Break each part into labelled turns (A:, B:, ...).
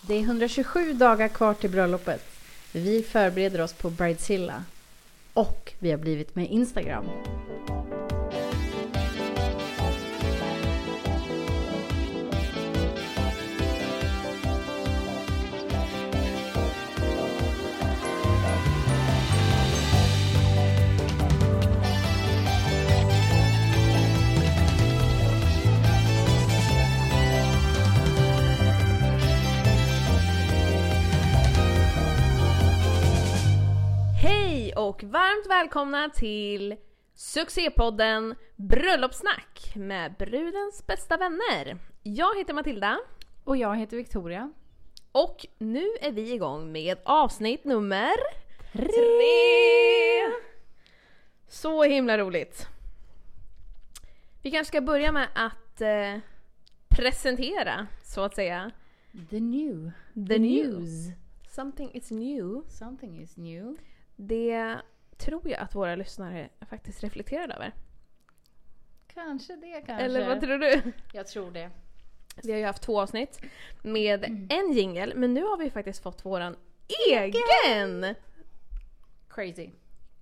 A: Det är 127 dagar kvar till bröllopet. Vi förbereder oss på Bridezilla. Och vi har blivit med Instagram.
B: Hej och varmt välkomna till succépodden Bröllopssnack med brudens bästa vänner. Jag heter Matilda
A: Och jag heter Victoria.
B: och nu är vi igång med avsnitt nummer tre. Så himla roligt. Vi kanske ska börja med att eh, presentera så att säga.
A: The new.
B: The, Something is new.
A: Something is new.
B: Det tror jag att våra lyssnare faktiskt reflekterar över.
A: Kanske det kanske.
B: Eller vad tror du?
A: Jag tror det.
B: Vi har ju haft två avsnitt med
A: Mm.
B: en jingel, men nu har vi faktiskt fått våran egen!
A: Crazy.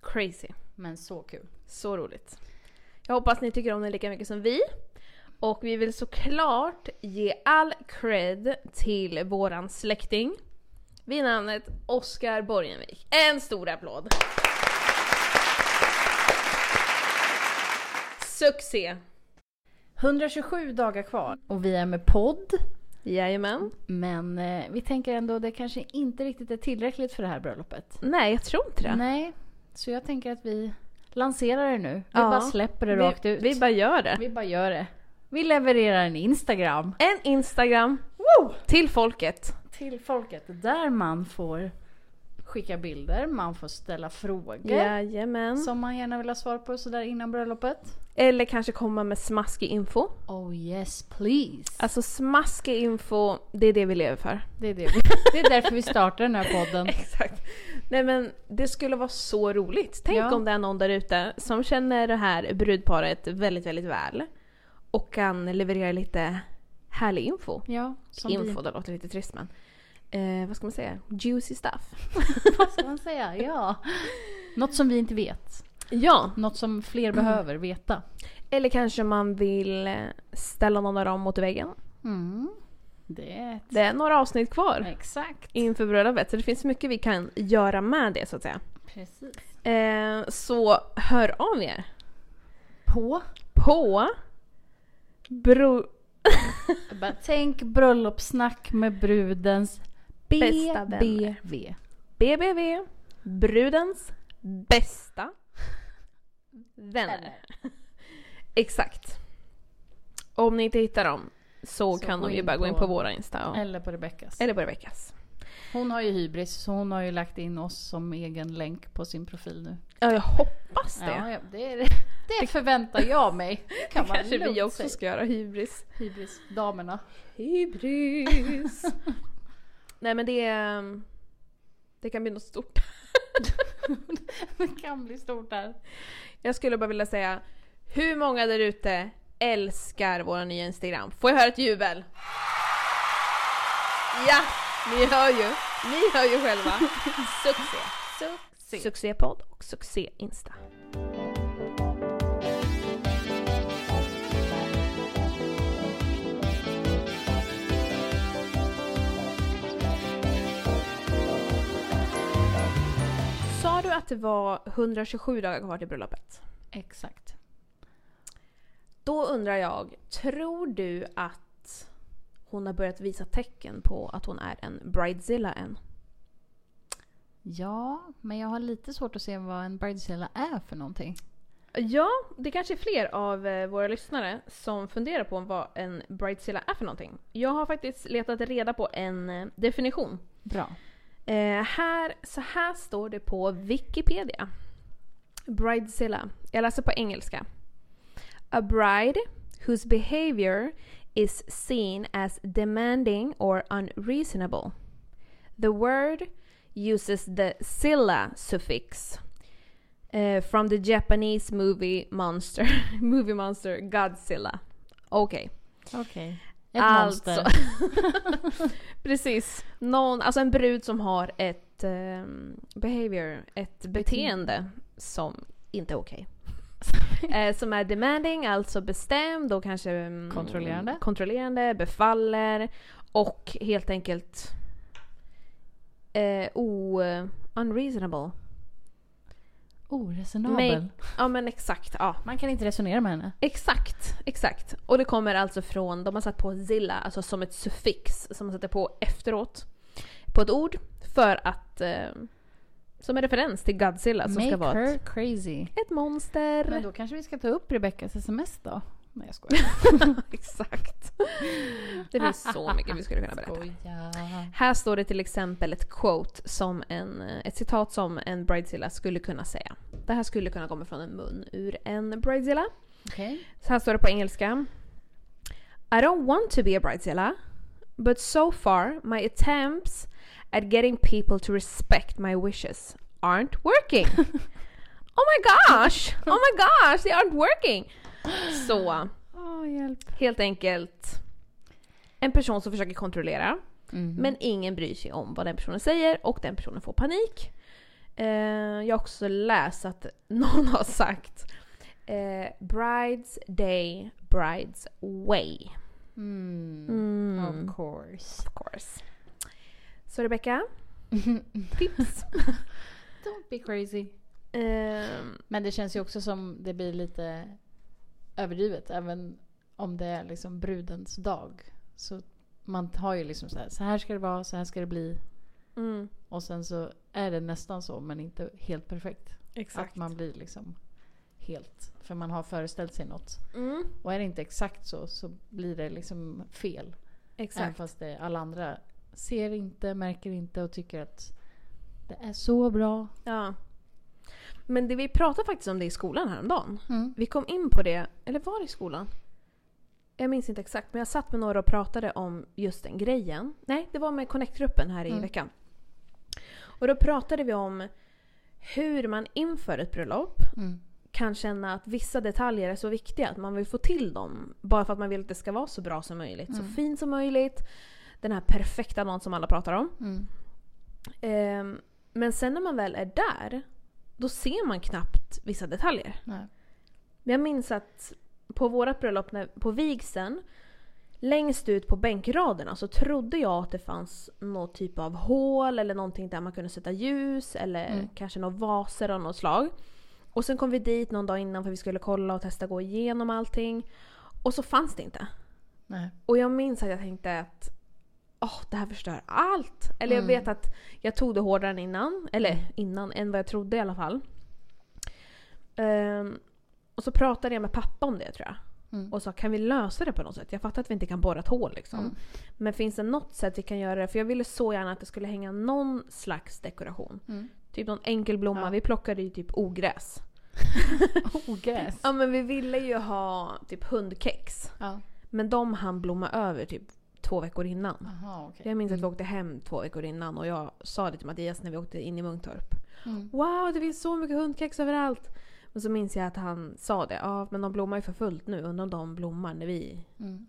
B: Crazy.
A: Men så kul.
B: Så roligt. Jag hoppas ni tycker om den lika mycket som vi. Och vi vill såklart ge all cred till våran släkting vid namnet Oskar Borgenvik. En stor applåd! Succé!
A: 127 dagar kvar. Och vi är med podd.
B: Jajamän.
A: Men eh, vi tänker ändå det kanske inte riktigt är tillräckligt för det här bröllopet.
B: Nej, jag tror inte det.
A: Nej. Så jag tänker att vi lanserar det nu. Vi
B: Ja.
A: bara släpper det rakt ut.
B: Vi, vi bara gör det.
A: Vi bara gör det. Vi levererar en Instagram.
B: En Instagram
A: Woo!
B: till folket.
A: Till folket. Där man får skicka bilder, man får ställa frågor.
B: Jajamän.
A: Som man gärna vill ha svar på sådär innan bröllopet.
B: Eller kanske komma med smaskig info.
A: Oh yes please.
B: Alltså smaskig info, det är det vi lever för.
A: Det är, det. vi- det är därför vi startar den här podden.
B: Exakt. Nej men det skulle vara så roligt. Tänk
A: Ja.
B: om det är någon där ute som känner det här brudparet väldigt, väldigt väl. Och kan leverera lite härlig info.
A: Ja, som
B: info, det låter lite trist men. Eh, vad ska man säga? Juicy stuff.
A: vi... Vad ska man säga? Ja. Något som vi inte vet.
B: Ja,
A: Något som fler behöver veta.
B: eller kanske man vill eh, ställa någon av dem mot väggen.
A: Mm. Det är ett...
B: Det är några avsnitt kvar
A: Exakt.
B: inför bröllopet så det finns mycket vi kan göra med det så att säga.
A: Precis.
B: Eh, så hör av er
A: På.
B: på bro...
A: Bara, tänk bröllopssnack med brudens
B: Bästa
A: BBV.
B: BBV, brudens bästa vänner. Exakt. Om ni inte hittar dem så,
A: Så
B: kan
A: gå
B: de ju
A: in
B: bara gå in
A: på-
B: på våra Insta och...
A: Eller på Rebeckas.
B: eller på Rebeckas.
A: Hon har ju hybris så hon har ju lagt in oss som egen länk på sin profil nu.
B: Ja, jag hoppas det.
A: Ja, ja, det, är, det förväntar jag mig. Kan man
B: Kanske vi
A: lugnt
B: också
A: säga.
B: ska göra hybris.
A: Hybris, damerna.
B: Hybris. Nej men det... ehm, Det kan bli något stort.
A: Det kan bli stort där.
B: Jag skulle bara vilja säga, hur många där ute älskar våra nya Instagram? Får jag höra ett jubel? Ja, ni hör ju. Ni hör ju själva. Succé.
A: Succé.
B: Succépodd och succé-insta. Sa du att det var 127 dagar kvar till bröllopet?
A: Exakt.
B: Då undrar jag, tror du att hon har börjat visa tecken på att hon är en bridezilla än?
A: Ja, men jag har lite svårt att se vad en bridezilla är för någonting.
B: Ja, det kanske är fler av eh, våra lyssnare som funderar på vad en bridezilla är för någonting. Jag har faktiskt letat reda på en eh, definition.
A: Bra.
B: Eh, här, så här står det på Wikipedia. Bridezilla. Jag läser på engelska. A bride whose behavior is seen as demanding or unreasonable. The word uses the zilla suffix eh, from the Japanese movie monster, movie monster Godzilla. Okej.
A: Okej. Alltså. Ett
B: Alltså.
A: monster.
B: Precis. Någon, alltså en brud som har ett ehm, behavior, ett beteende som inte är okej. eh, som är demanding, alltså bestämd och kanske mm,
A: Kontrollerande.
B: kontrollerande, befaller och helt enkelt eh, o, unreasonable.
A: Oh, Oresonabel.
B: Make- Ja men exakt, ja.
A: Man kan inte resonera med henne.
B: Exakt, exakt. Och det kommer alltså från, de har satt på zilla, alltså som ett suffix som man sätter på efteråt. På ett ord för att, eh, som en referens till Godzilla som ska
A: Make
B: vara
A: her
B: ett,
A: crazy.
B: ett monster.
A: Men då kanske vi ska ta upp Rebeckas sms då? Nej jag skojar.
B: exakt. Det finns så mycket vi skulle kunna berätta.
A: Skoja.
B: Här står det till exempel ett quote som en, eh, ett citat som en bridezilla skulle kunna säga. Det här skulle kunna komma från en mun ur en bridezilla.
A: Okej.
B: Så här står det på engelska. I don't want to be a bridezilla. But so far my attempts at getting people to respect my wishes aren't working. oh my gosh! Oh my gosh! They aren't working! Så,
A: Åh hjälp.
B: helt enkelt. En person som försöker kontrollera.
A: Mhm.
B: Men ingen bryr sig om vad den personen säger och den personen får panik. Eh, jag har också läst att någon har sagt eh, Brides day, brides way.
A: Mm. Of course.
B: Of course. Så Rebecca, tips.
A: Don't be crazy.
B: Ehm,
A: Men det känns ju också som det blir lite överdrivet. Även om det är liksom brudens dag. Så man har ju liksom så här, så här ska det vara, så här ska det bli.
B: mm,
A: Och sen så är det nästan så men inte helt perfekt.
B: exakt.
A: Att man blir liksom helt. För man har föreställt sig något.
B: Mm,
A: Och är det inte exakt så så blir det liksom fel. Även
B: exakt.
A: fast det, alla andra ser inte, märker inte och tycker att det är så bra.
B: Ja. Men det, vi pratade faktiskt om det i skolan häromdagen.
A: Mm.
B: Vi kom in på det, eller var det i skolan? Jag minns inte exakt, men jag satt med några och pratade om just den grejen. Nej, det var med Connect-gruppen här i
A: Mm.
B: veckan. Och då pratade vi om hur man inför ett bröllop
A: Mm.
B: kan känna att vissa detaljer är så viktiga att man vill få till dem. Bara för att man vill att det ska vara så bra som möjligt, så
A: Mm.
B: fint som möjligt. Den här perfekta dagen som alla pratar om.
A: Mm.
B: Ehm, men sen när man väl är där, då ser man knappt vissa detaljer.
A: Nej.
B: Men jag minns att på vårat bröllop, när, på vigseln, längst ut på bänkraderna så trodde jag att det fanns någon typ av hål eller någonting där man kunde sätta ljus eller
A: Mm.
B: kanske några vaser av något slag. Och sen kom vi dit någon dag innan för vi skulle kolla och testa gå igenom allting. Och så fanns det inte.
A: Nej.
B: Och jag minns att jag tänkte att åh, det här förstör allt. Eller
A: Mm.
B: jag vet att jag tog det hårdare än innan. Eller innan, än vad jag trodde i alla fall. Ehm, och så pratade jag med pappa om det tror jag.
A: Mm.
B: Och sa kan vi lösa det på något sätt? Jag fattar att vi inte kan borra ett hål liksom.
A: Mm.
B: Men finns det något sätt vi kan göra det? För jag ville så gärna att det skulle hänga någon slags dekoration.
A: Mm.
B: Typ någon enkel blomma.
A: Ja.
B: Vi plockade ju typ ogräs.
A: Ogräs.
B: Ja men vi ville ju ha typ hundkex.
A: Ja.
B: Men de hann blomma över typ två veckor innan.
A: Aha, okej. Mm.
B: Jag minns att vi åkte hem två veckor innan och jag sa det till Mattias när vi åkte in i Munktorp.
A: Mm.
B: Wow, det finns så mycket hundkex överallt! Men så minns jag att han sa det. Ja, men de blommar ju för fullt nu. Undrar om de blommar när vi...
A: Mm.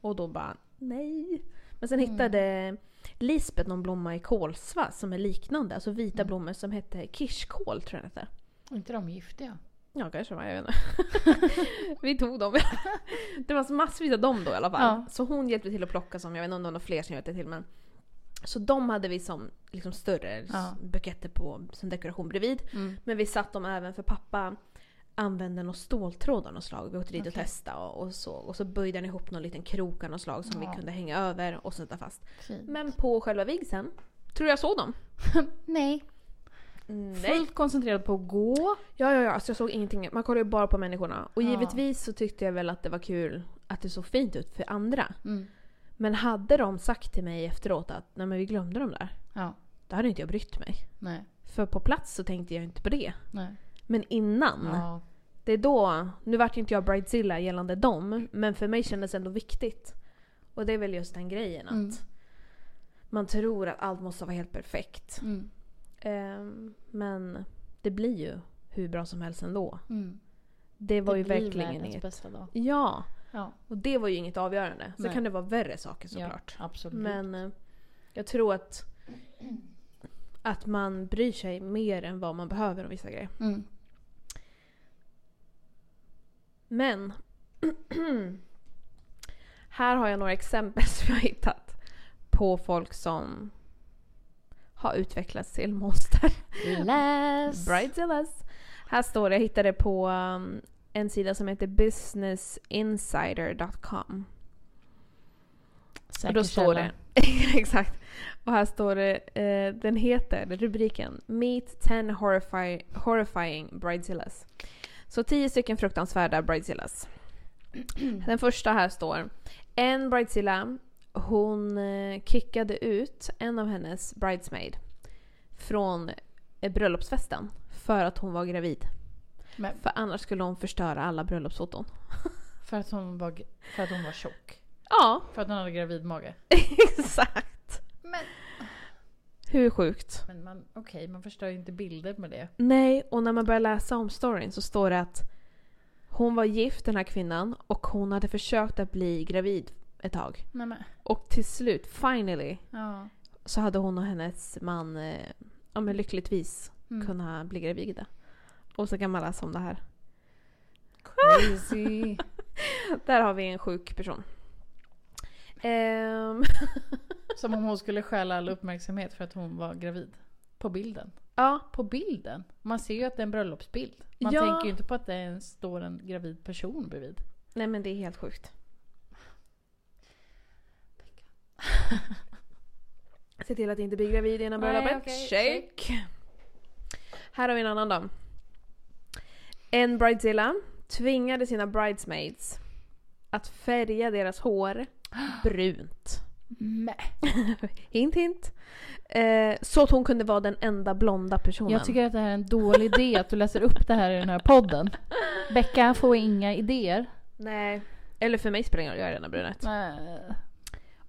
B: Och då bara nej. Men sen
A: Mm.
B: hittade Lisbeth någon blomma i Kolsva som är liknande. Alltså vita
A: Mm.
B: blommor som hette kirskål tror jag den hette.
A: Är inte de giftiga?
B: Ja, kanske var. Jag vet inte. vi tog dem. det var massvis av dem då i alla fall.
A: Ja.
B: Så hon hjälpte till att plocka som, jag vet inte om det var några fler som hjälpte till men. Så de hade vi som liksom större
A: Ja.
B: ja. buketter på som dekoration bredvid.
A: Mm.
B: Men vi satt dem även för pappa använde någon ståltråd av något slag. Vi åkte dit och
A: Okej.
B: testade och, och så. Och så böjde han ihop någon liten krok av något slag som
A: Ja.
B: vi kunde hänga över och sätta fast.
A: Fint.
B: Men på själva vigseln, tror du jag såg dem?
A: Nej. Fullt koncentrerad på att gå.
B: Ja, ja, ja. Alltså jag såg ingenting. Man kollar ju bara på människorna. Och
A: Ja.
B: givetvis så tyckte jag väl att det var kul att det såg fint ut för andra.
A: Mm.
B: Men hade de sagt till mig efteråt att nej men vi glömde dem där.
A: Ja.
B: Då hade inte jag brytt mig.
A: Nej.
B: För på plats så tänkte jag inte på det.
A: Nej.
B: Men innan.
A: Ja.
B: Det är då. Nu vart ju inte jag bridezilla gällande dem. Men för mig kändes det ändå viktigt. Och det är väl just den grejen att
A: Mm.
B: man tror att allt måste vara helt perfekt.
A: Mm.
B: Ehm, men det blir ju hur bra som helst ändå.
A: Mm.
B: Det var ju
A: blir
B: verkligen
A: världens
B: inget.
A: bästa dag.
B: Ja.
A: Ja,
B: Och det var ju inget avgörande. Sen
A: Nej.
B: kan det vara värre saker
A: Ja,
B: såklart.
A: absolut.
B: Men eh, jag tror att, att man bryr sig mer än vad man behöver om vissa grejer.
A: Mm.
B: Men här har jag några exempel som jag har hittat på folk som har utvecklats till monster.
A: Läs!
B: Bridezillas. Här står det, jag hittade på um, en sida som heter businessinsider.com.
A: Säker
B: Och då står
A: källa.
B: det... exakt. Och här står det, eh, den heter, rubriken, Meet 10 horrify, Horrifying Bridezillas. Så 10 stycken fruktansvärda Bridezillas. Den första här står, en Bridezilla, hon eh, kickade ut en av hennes bridesmaid från eh, bröllopsfesten för att hon var gravid.
A: Men
B: För annars skulle hon förstöra alla bröllopsfoton.
A: för, att hon var, för att hon var tjock.
B: Ja,
A: För att hon hade gravidmage.
B: exakt.
A: Men,
B: Hur sjukt?
A: men man, okej, man förstör ju inte bilder med det.
B: Nej, och när man börjar läsa om storyn så står det att hon var gift den här kvinnan och hon hade försökt att bli gravid ett tag.
A: Nej men,
B: Och till slut, finally,
A: ja.
B: så hade hon och hennes man eh, ja, men lyckligtvis
A: Mm.
B: kunnat bli gravida. Och så kan man läsa om det här.
A: Crazy.
B: Där har vi en sjuk person. Ehm,
A: Som om hon skulle stjäla all uppmärksamhet för att hon var gravid. På bilden.
B: ja,
A: På bilden. Man ser ju att det är en bröllopsbild. Man
B: Ja.
A: tänker ju inte på att det ens står en gravid person bredvid.
B: nej men det är helt sjukt. Se till att inte bli gravid innan
A: Nej,
B: bröllopet.
A: okej,
B: shake. Här har vi en annan då. En bridezilla tvingade sina bridesmaids att färga deras hår brunt.
A: Nej.
B: Hint hint. Eh, så att hon kunde vara den enda blonda personen.
A: Jag tycker att det här är en dålig idé att du läser upp det här i den här podden. Becka får inga idéer.
B: Nej. Eller för mig spelar det ingen roll, jag är redan brunett.
A: Nej.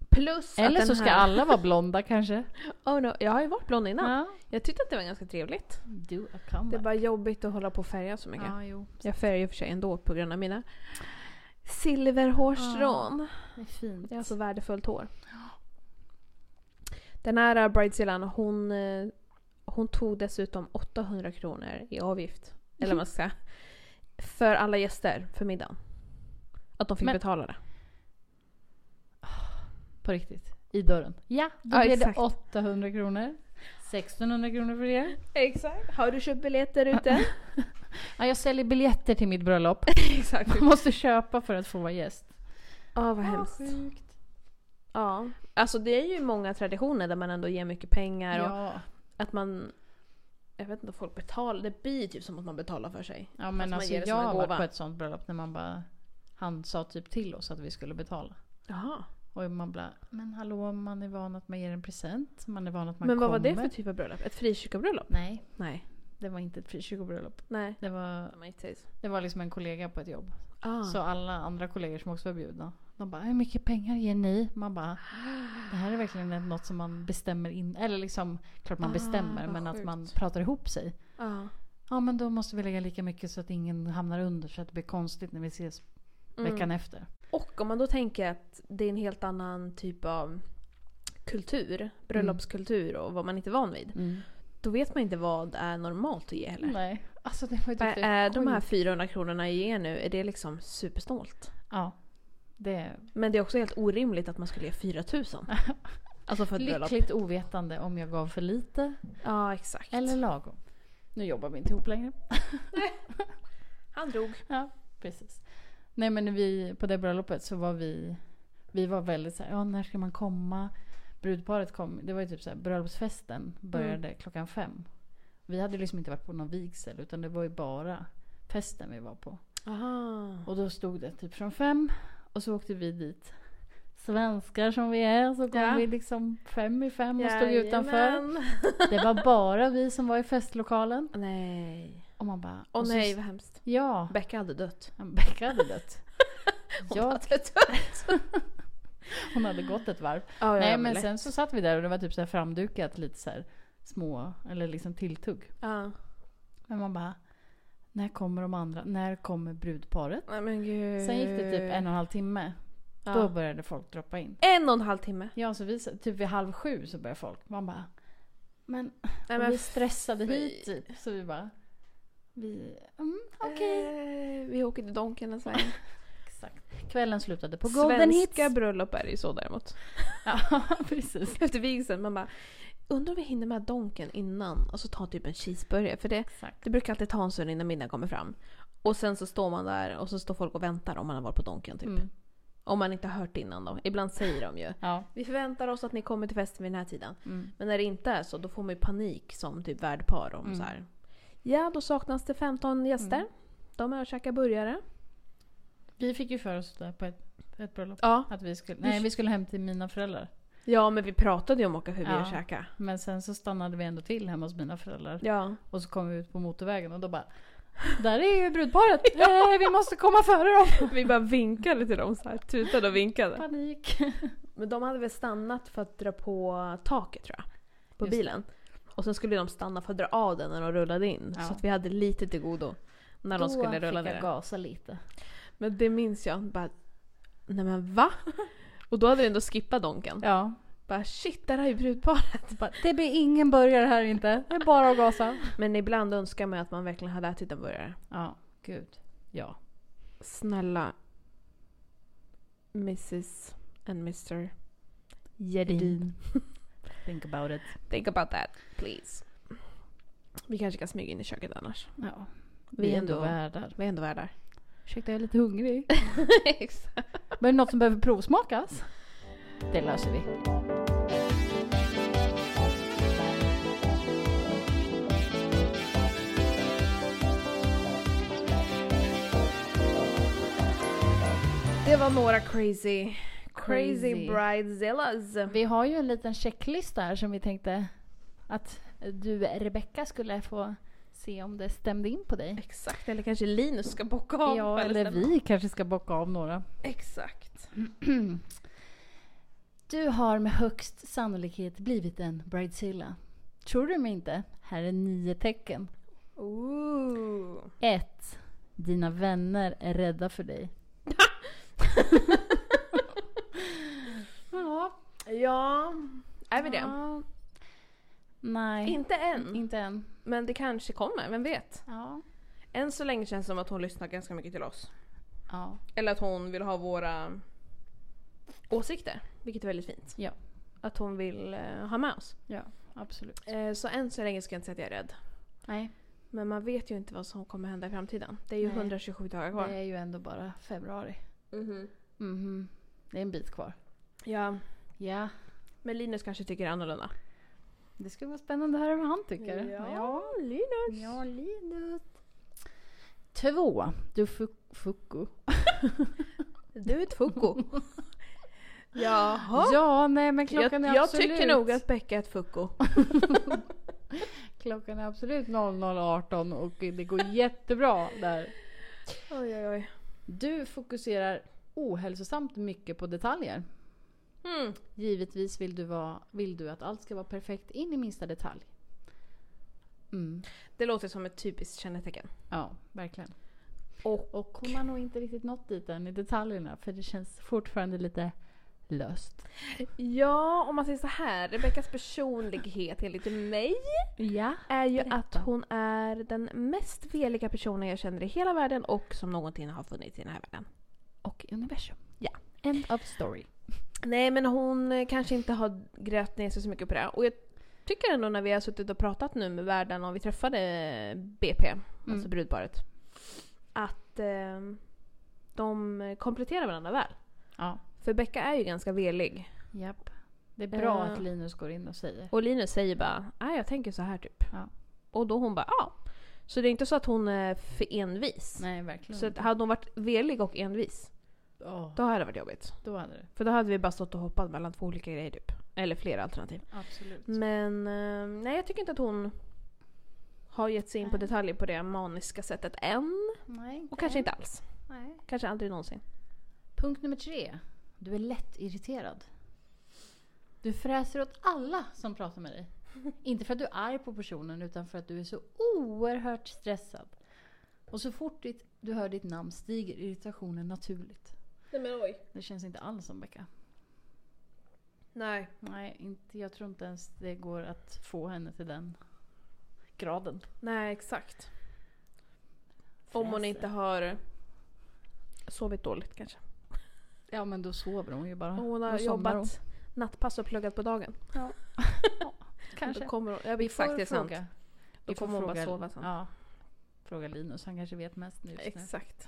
B: Plus att
A: Eller
B: den
A: så ska
B: här...
A: alla vara blonda kanske.
B: Oh no, jag har ju varit blond innan.
A: Ja.
B: Jag tyckte att det var ganska trevligt.
A: Do a
B: Det är
A: comeback.
B: bara jobbigt att hålla på och färga så mycket.
A: Ja, jo.
B: Jag färgar ju för sig ändå på grund av mina silverhårstrån.
A: Det är fint.
B: Jag har så värdefullt hår. Den här bridezillan, hon, eh, hon tog dessutom 800 kronor i avgift. Eller vad man ska säga. För alla gäster för middagen. Att de fick
A: Men-
B: betala det.
A: På riktigt. I dörren. Ja, då
B: Ja,
A: blir
B: exakt.
A: det 800 kronor. 1600 kronor för det.
B: Exakt. Har du köpt biljetter ute?
A: Ja, jag säljer biljetter till mitt bröllop.
B: Exakt.
A: Man måste köpa för att få vara gäst.
B: Ja, vad hemskt.
A: sjukt.
B: Ja. Alltså det är ju många traditioner där man ändå ger mycket pengar och
A: Ja,
B: att man... Jag vet inte, folk betalar. Det blir ju typ som att man betalar för sig.
A: ja men
B: man
A: alltså
B: ger det
A: jag
B: som en
A: har varit
B: gåva.
A: på ett sånt bröllop när man bara... Han sa typ till oss att vi skulle betala.
B: Jaha.
A: Och man bara, men hallå man är van att man ger en present. Man är van att man
B: Men vad
A: kommer.
B: var det för typ av bröllop? Ett frikyrkobröllop?
A: Nej,
B: Nej.
A: det var inte ett frikyrkobröllop.
B: Nej.
A: Det var, det var liksom en kollega på ett jobb.
B: Ah.
A: Så alla andra kollegor som också var bjudna. De bara, hur mycket pengar ger ni? Man bara, det här är verkligen ett- något som man bestämmer in. Eller liksom, klart man
B: Ah,
A: bestämmer
B: vad
A: men att
B: sjukt.
A: man pratar ihop sig.
B: Ja.
A: Ja men då måste vi lägga lika mycket så att ingen hamnar under så att det blir konstigt när vi ses
B: Mm.
A: veckan efter.
B: Och om man då tänker att det är en helt annan typ av kultur, bröllopskultur och vad man inte är van vid. Då vet man inte vad är normalt att ge heller.
A: Nej. Alltså det var ju
B: Vad
A: typ
B: är de här
A: sjukt.
B: 400 kronorna jag ger nu, är det liksom supersnålt?
A: Ja. Det
B: Men det är också helt orimligt att man skulle ge 4000. Alltså för ett bröllop.
A: Lyckligt ovetande om jag gav för lite
B: Ja, exakt.
A: eller lagom. Nu jobbar vi inte ihop längre.
B: Han drog.
A: Ja, precis. Nej men vi, på det bröllopet så var vi, vi var väldigt såhär, ja när ska man komma? Brudparet kom, det var ju typ såhär, bröllopsfesten började
B: Mm.
A: klockan fem. Vi hade liksom inte varit på någon vigsel utan det var ju bara festen vi var på.
B: Aha.
A: Och då stod det typ från fem och så åkte vi dit. Svenskar som vi är så kom
B: Ja.
A: vi liksom fem i fem och stod utanför.
B: Jajamän.
A: Det var bara vi som var i festlokalen.
B: Nej.
A: Och man bara...
B: Åh
A: och så-
B: nej, vad hemskt.
A: Ja.
B: Becka hade dött.
A: Becka hade dött.
B: Hon
A: Jag,
B: hade dött.
A: hon hade gått ett varv.
B: Ja, ja,
A: Nej
B: ja,
A: men
B: lätt.
A: sen så satt vi där och det var typ så här framdukat lite så här små, eller liksom tilltugg.
B: Ja.
A: Men man bara... När kommer de andra? När kommer brudparet?
B: Nej men gud.
A: Sen gick det typ en och en halv timme.
B: Ja.
A: Då började folk droppa in.
B: En och en halv timme.
A: Ja, så vi, typ vid halv sju så började folk. Man bara. Men,
B: Nej,
A: och vi stressade
B: fy.
A: hit typ. Så vi bara. Vi, mm, okej.
B: eh, vi åker till Donken en sväng.
A: Exakt. Kvällen slutade på Golden
B: Svenska
A: Hits.
B: bröllop är det ju så däremot.
A: Ja, precis.
B: Efter vigseln man bara undrar om vi hinner med Donken innan och så ta typ en cheeseburgare för det,
A: Exakt.
B: det brukar alltid ta en stund innan middagen kommer fram. Och sen så står man där och så står folk och väntar om man har varit på Donken typ.
A: Mm.
B: Om man inte har hört det innan då. Ibland säger de ju.
A: Ja.
B: Vi förväntar oss att ni kommer till festen vid den här tiden.
A: Mm.
B: Men när det inte är så då får man ju panik som typ värdpar om
A: Mm.
B: så här. Ja, då saknas det 15 gäster.
A: Mm.
B: De är och käkar burgare.
A: Vi fick ju för oss det på ett, ett bröllop.
B: Ja.
A: Att vi skulle, nej, vi skulle hem till mina föräldrar.
B: ja, men vi pratade ju om att åka förbi
A: Ja.
B: och käka.
A: Men sen så stannade vi ändå till hemma hos mina föräldrar.
B: Ja.
A: Och så kom vi ut på motorvägen och då bara Där är ju brudparet! eh, vi måste komma före dem!
B: Vi bara vinkade till dem så här, tutade och vinkade.
A: Panik!
B: Men de hade väl stannat för att dra på taket tror jag. På
A: Just det.
B: bilen. Och sen skulle de stanna för att dra av den när de rullade in.
A: Ja.
B: Så att vi hade lite till godo när de skulle rulla
A: fick
B: ner.
A: jag gasa lite.
B: Men det minns jag. Bara, Nej men va? Och då hade vi ändå skippat donken.
A: Ja.
B: Bara shit, där har ju brudparet.
A: Bara, det blir ingen burgare här inte. Det är bara att gasa.
B: Men ibland önskar man ju att man verkligen hade ätit en burgare.
A: Ja, gud. Ja.
B: Snälla. Mrs and Mr.
A: Gerdin. Think about it.
B: Think about that, please. Vi kanske kan smyga in i köket annars.
A: Ja. Vi,
B: Vi
A: är
B: är
A: ändå
B: ändå-
A: värdar.
B: Vi är ändå värdar.
A: Ursäkta, jag är lite hungrig.
B: Exakt.
A: Men är det något som behöver provsmakas? Det löser vi.
B: Det var några crazy, crazy,
A: Crazy.
B: bridezillas.
A: Vi har ju en liten checklista här som vi tänkte att du, Rebecka, skulle få se om det stämde in på dig.
B: Exakt, eller kanske Linus ska bocka av.
A: ja,
B: på alla
A: eller
B: ställen.
A: vi kanske ska bocka av några.
B: Exakt.
A: Du har med högst sannolikhet blivit en bridezilla. Tror du mig inte? Här är nio tecken.
B: Ooh.
A: 1. Dina vänner är rädda för dig. ja.
B: Ja, är vi det?
A: Ja. Nej.
B: Inte än,
A: Inte än.
B: men det kanske kommer, vem vet?
A: Ja.
B: Än så länge känns det som att hon lyssnar ganska mycket till oss.
A: Ja.
B: Eller att hon vill ha våra åsikter, vilket är väldigt fint.
A: Ja.
B: Att hon vill eh, ha med oss.
A: Ja, absolut.
B: Eh, så än så länge ska jag inte säga att jag är rädd.
A: Nej,
B: Men man vet ju inte vad som kommer hända i framtiden. Det är ju
A: Nej.
B: 127 dagar
A: det
B: kvar.
A: är ju ändå bara februari.
B: Mhm.
A: Mhm. Det är en bit kvar.
B: Ja,
A: Ja.
B: men Linus kanske tycker annorlunda.
A: Det skulle vara spännande att höra vad han tycker.
B: Linus!
A: Ja, Linus. Två. Du fu- fucko.
B: Du är ett fucko. Jaha.
A: Ja, nej men klockan
B: Jag,
A: är
B: jag
A: absolut...
B: tycker nog att Becka är ett fucko.
A: Klockan är absolut 00.18 och det går jättebra där.
B: Oj, oj, oj.
A: Du fokuserar ohälsosamt mycket på detaljer.
B: Mm.
A: Givetvis vill du, vara, vill du att allt ska vara perfekt in i minsta detalj. Mm.
B: Det låter som ett typiskt kännetecken.
A: Ja, verkligen.
B: Och
A: Och hon har nog inte riktigt nått dit än i detaljerna för det känns fortfarande lite löst.
B: ja, om man säger så här. Rebeckas personlighet enligt mig
A: Ja.
B: är ju
A: Berätta.
B: att hon är den mest veliga personen jag känner i hela världen och som någonting har funnits i den här världen.
A: Och universum.
B: Ja.
A: End of story.
B: Nej, men hon eh, kanske inte har grävt ner sig så mycket på det. Och jag tycker ändå när vi har suttit och pratat nu med världen och vi träffade BP, alltså
A: Mm.
B: brudparet, att eh, de kompletterar varandra väl.
A: Ja.
B: För Becka är ju ganska velig.
A: Japp. Det är bra
B: Eh.
A: att Linus går in och säger.
B: Och Linus säger bara nej jag tänker så här typ.
A: Ja.
B: Och då hon bara ja. Så det är inte så att hon är för envis.
A: Nej, verkligen
B: Så att hade hon varit velig och envis,
A: Ja,
B: då hade det varit jobbigt.
A: Då hade det.
B: För då hade vi bara stått och hoppat mellan två olika grejer typ. Eller flera alternativ.
A: Absolut.
B: Men eh, nej jag tycker inte att hon har gett sig in på
A: Nej.
B: detaljer på det maniska sättet än.
A: Nej,
B: Och kanske inte alls.
A: Nej.
B: Kanske aldrig någonsin.
A: Punkt nummer tre. Du är lätt irriterad. Du fräser åt alla som pratar med dig. Inte för att du är arg på personen utan för att du är så oerhört stressad. Och så fort ditt, du hör ditt namn stiger irritationen naturligt.
B: Nej men oj.
A: Det känns inte alls som Becka.
B: Nej.
A: Nej, inte, jag tror inte ens det går att få henne till den graden.
B: Nej exakt. Om hon inte har sovit dåligt kanske.
A: Ja men då sover hon ju bara.
B: Och hon har
A: Då somnar
B: jobbat
A: hon.
B: nattpass och pluggat på dagen.
A: Ja. Ja, Kanske.
B: Då kommer hon, jag
A: Vi
B: vet
A: får
B: faktiskt det är sant.
A: fråga.
B: Då
A: Vi får
B: kommer hon bara
A: fråga-
B: sova sen.
A: Ja. Fråga Linus, han kanske vet mest nu. just nu.
B: Exakt.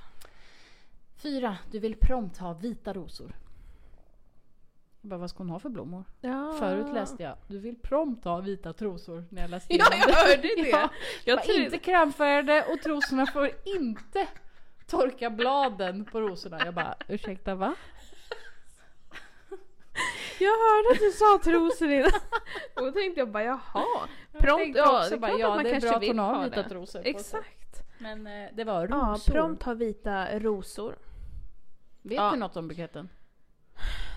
A: Fyra, du vill prompt ha vita rosor. Jag bara, vad ska hon ha för blommor?
B: Ja.
A: Förut läste jag, du vill prompt ha vita trosor. När jag läste
B: Ja,
A: igenom
B: jag hörde det.
A: Ja,
B: Jag
A: bara,
B: trodde-
A: inte kramfärgade och trosorna får inte torka bladen på rosorna. Jag bara, ursäkta va?
B: Jag hörde att du sa trosor innan. Och då tänkte jag bara jaha.
A: Jag
B: Prompt,
A: tänkte
B: ja
A: också
B: det är
A: bara,
B: klart
A: ja,
B: att man
A: det är
B: kanske
A: bra att
B: vill
A: hon har
B: ha
A: vita
B: det.
A: trosor på sig.
B: Exakt.
A: Men eh, det var
B: Ja,
A: rosor.
B: prompt har vita rosor.
A: Vet
B: Ja.
A: du något om buketten?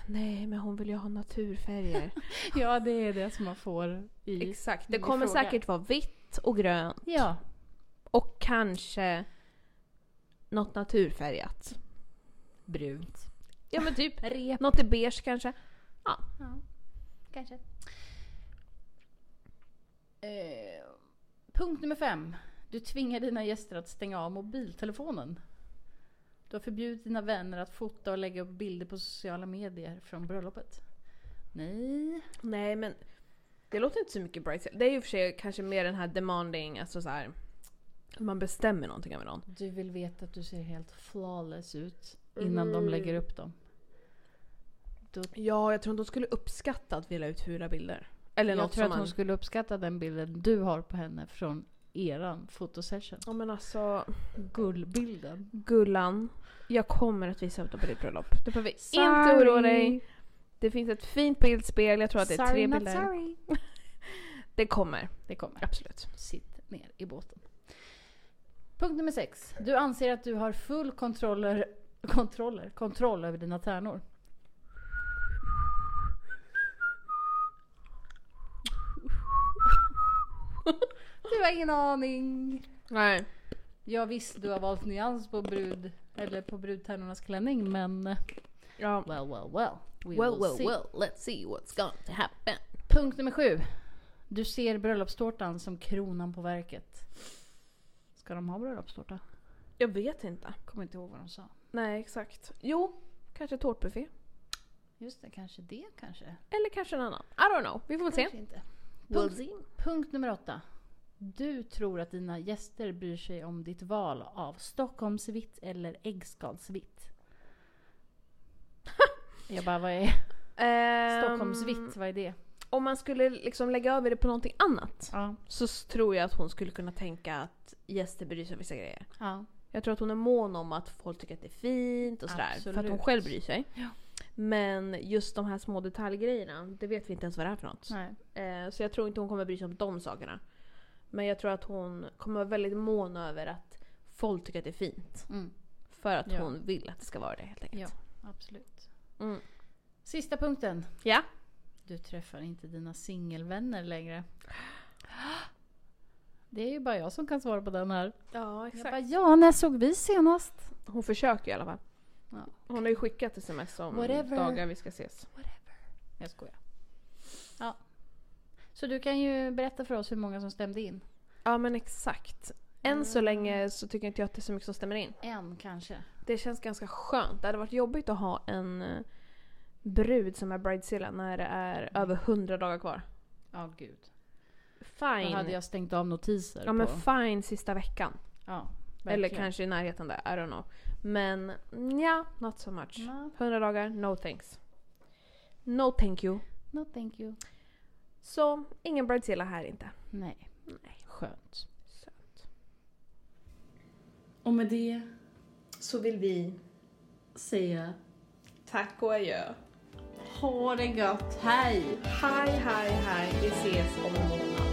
B: Nej men hon vill ju ha naturfärger.
A: Ja, det är det som man får i...
B: Exakt.
A: Vi
B: Det kommer
A: frågar.
B: säkert vara vitt och grönt.
A: Ja.
B: Och kanske något naturfärgat.
A: Brunt.
B: Ja men typ.
A: Rep.
B: Något i beige kanske.
A: Ja, kanske. Eh, punkt nummer fem. Du tvingar dina gäster att stänga av mobiltelefonen. Du har förbjudit dina vänner att fota och lägga upp bilder på sociala medier från bröllopet. Nej.
B: Nej men det låter inte så mycket bright side. Det är ju för sig kanske mer den här demanding, alltså så här. Man bestämmer någonting över någon.
A: Du vill veta att du ser helt flawless ut innan de lägger upp dem. Då,
B: Ja, jag tror inte hon skulle uppskatta att vi la ut fula bilder. Eller
A: jag
B: något
A: tror
B: som
A: att hon
B: man...
A: skulle uppskatta den bilden du har på henne från eran fotosession.
B: Ja men alltså,
A: Gullbilden.
B: Gullan. Jag kommer att visa upp dem på ditt bröllop. Du behöver inte oroa dig. Det finns ett fint bildspel, jag tror att det är
A: sorry,
B: tre
A: not
B: bilder.
A: sorry.
B: Det kommer,
A: Det kommer.
B: absolut.
A: Sitt ner i båten. Punkt nummer sex. Du anser att du har full kontroller, kontroller, kontroll över dina tärnor. Du har ingen aning.
B: Nej.
A: Ja visst, du har valt nyans på brud eller på brudtärnornas klänning men eh,
B: Ja.
A: well well well. We
B: Well,
A: will
B: well,
A: see.
B: well, let's see what's going to happen.
A: Punkt nummer sju. Du ser bröllopstårtan som kronan på verket. Ska de ha bröllopstårta?
B: Jag vet inte.
A: Kommer inte ihåg vad de sa.
B: Nej, exakt. Jo, kanske tårtbuffé.
A: Just det, kanske det kanske.
B: Eller kanske en annan. I don't know, vi får väl se.
A: Kanske inte.
B: We'll
A: Punkt,
B: see.
A: punkt nummer åtta. Du tror att dina gäster bryr sig om ditt val av Stockholmsvitt eller äggskalsvitt. Jag bara, vad är
B: Ehm,
A: Stockholmsvitt? Vad är det?
B: Om man skulle liksom lägga över det på någonting annat
A: Ja.
B: så s- tror jag att hon skulle kunna tänka att gäster bryr sig om vissa grejer.
A: ja.
B: Jag tror att hon är mån om att folk tycker att det är fint och sådär. För att hon
A: Absolut.
B: själv bryr sig.
A: Ja.
B: Men just de här små detaljgrejerna, det vet vi inte ens vad det är för något.
A: Nej.
B: Eh, så jag tror inte hon kommer bry sig om de sakerna. Men jag tror att hon kommer vara väldigt mån över att folk tycker att det är fint.
A: Mm.
B: För att
A: Ja.
B: hon vill att det ska vara det helt
A: Ja,
B: enkelt.
A: absolut.
B: Mm.
A: Sista punkten.
B: Ja.
A: Du träffar inte dina singelvänner längre. Det är ju bara jag som kan svara på den här.
B: Ja,
A: Jag bara, ja, när såg vi senast?
B: Hon försöker i alla fall.
A: Ja.
B: Hon har ju skickat sms om
A: Whatever.
B: dagar vi ska ses.
A: Jag skojar. Ja. Så du kan ju berätta för oss hur många som stämde in.
B: Ja men exakt. Än så
A: Mm.
B: länge så tycker inte jag att det är så mycket som stämmer in.
A: En kanske.
B: Det känns ganska skönt. Det hade varit jobbigt att ha en eh, brud som är bridezilla när det är
A: Mm.
B: över 100 dagar kvar.
A: Ja, gud. Då
B: Fine.
A: hade jag stängt av notiser
B: ja men
A: på.
B: fine sista veckan.
A: Ja,
B: Eller kanske i närheten där, I don't know. Men ja, not so much.
A: No,
B: 100 dagar, no thanks. No thank you.
A: no thank you.
B: Så ingen bridezilla här inte.
A: Nej. Nej. Skönt.
C: Och med det
B: Så vill vi
C: säga
B: tack och adjö.
C: ha det gött, hej!
B: Hej, hej, hej. Vi ses om en månad.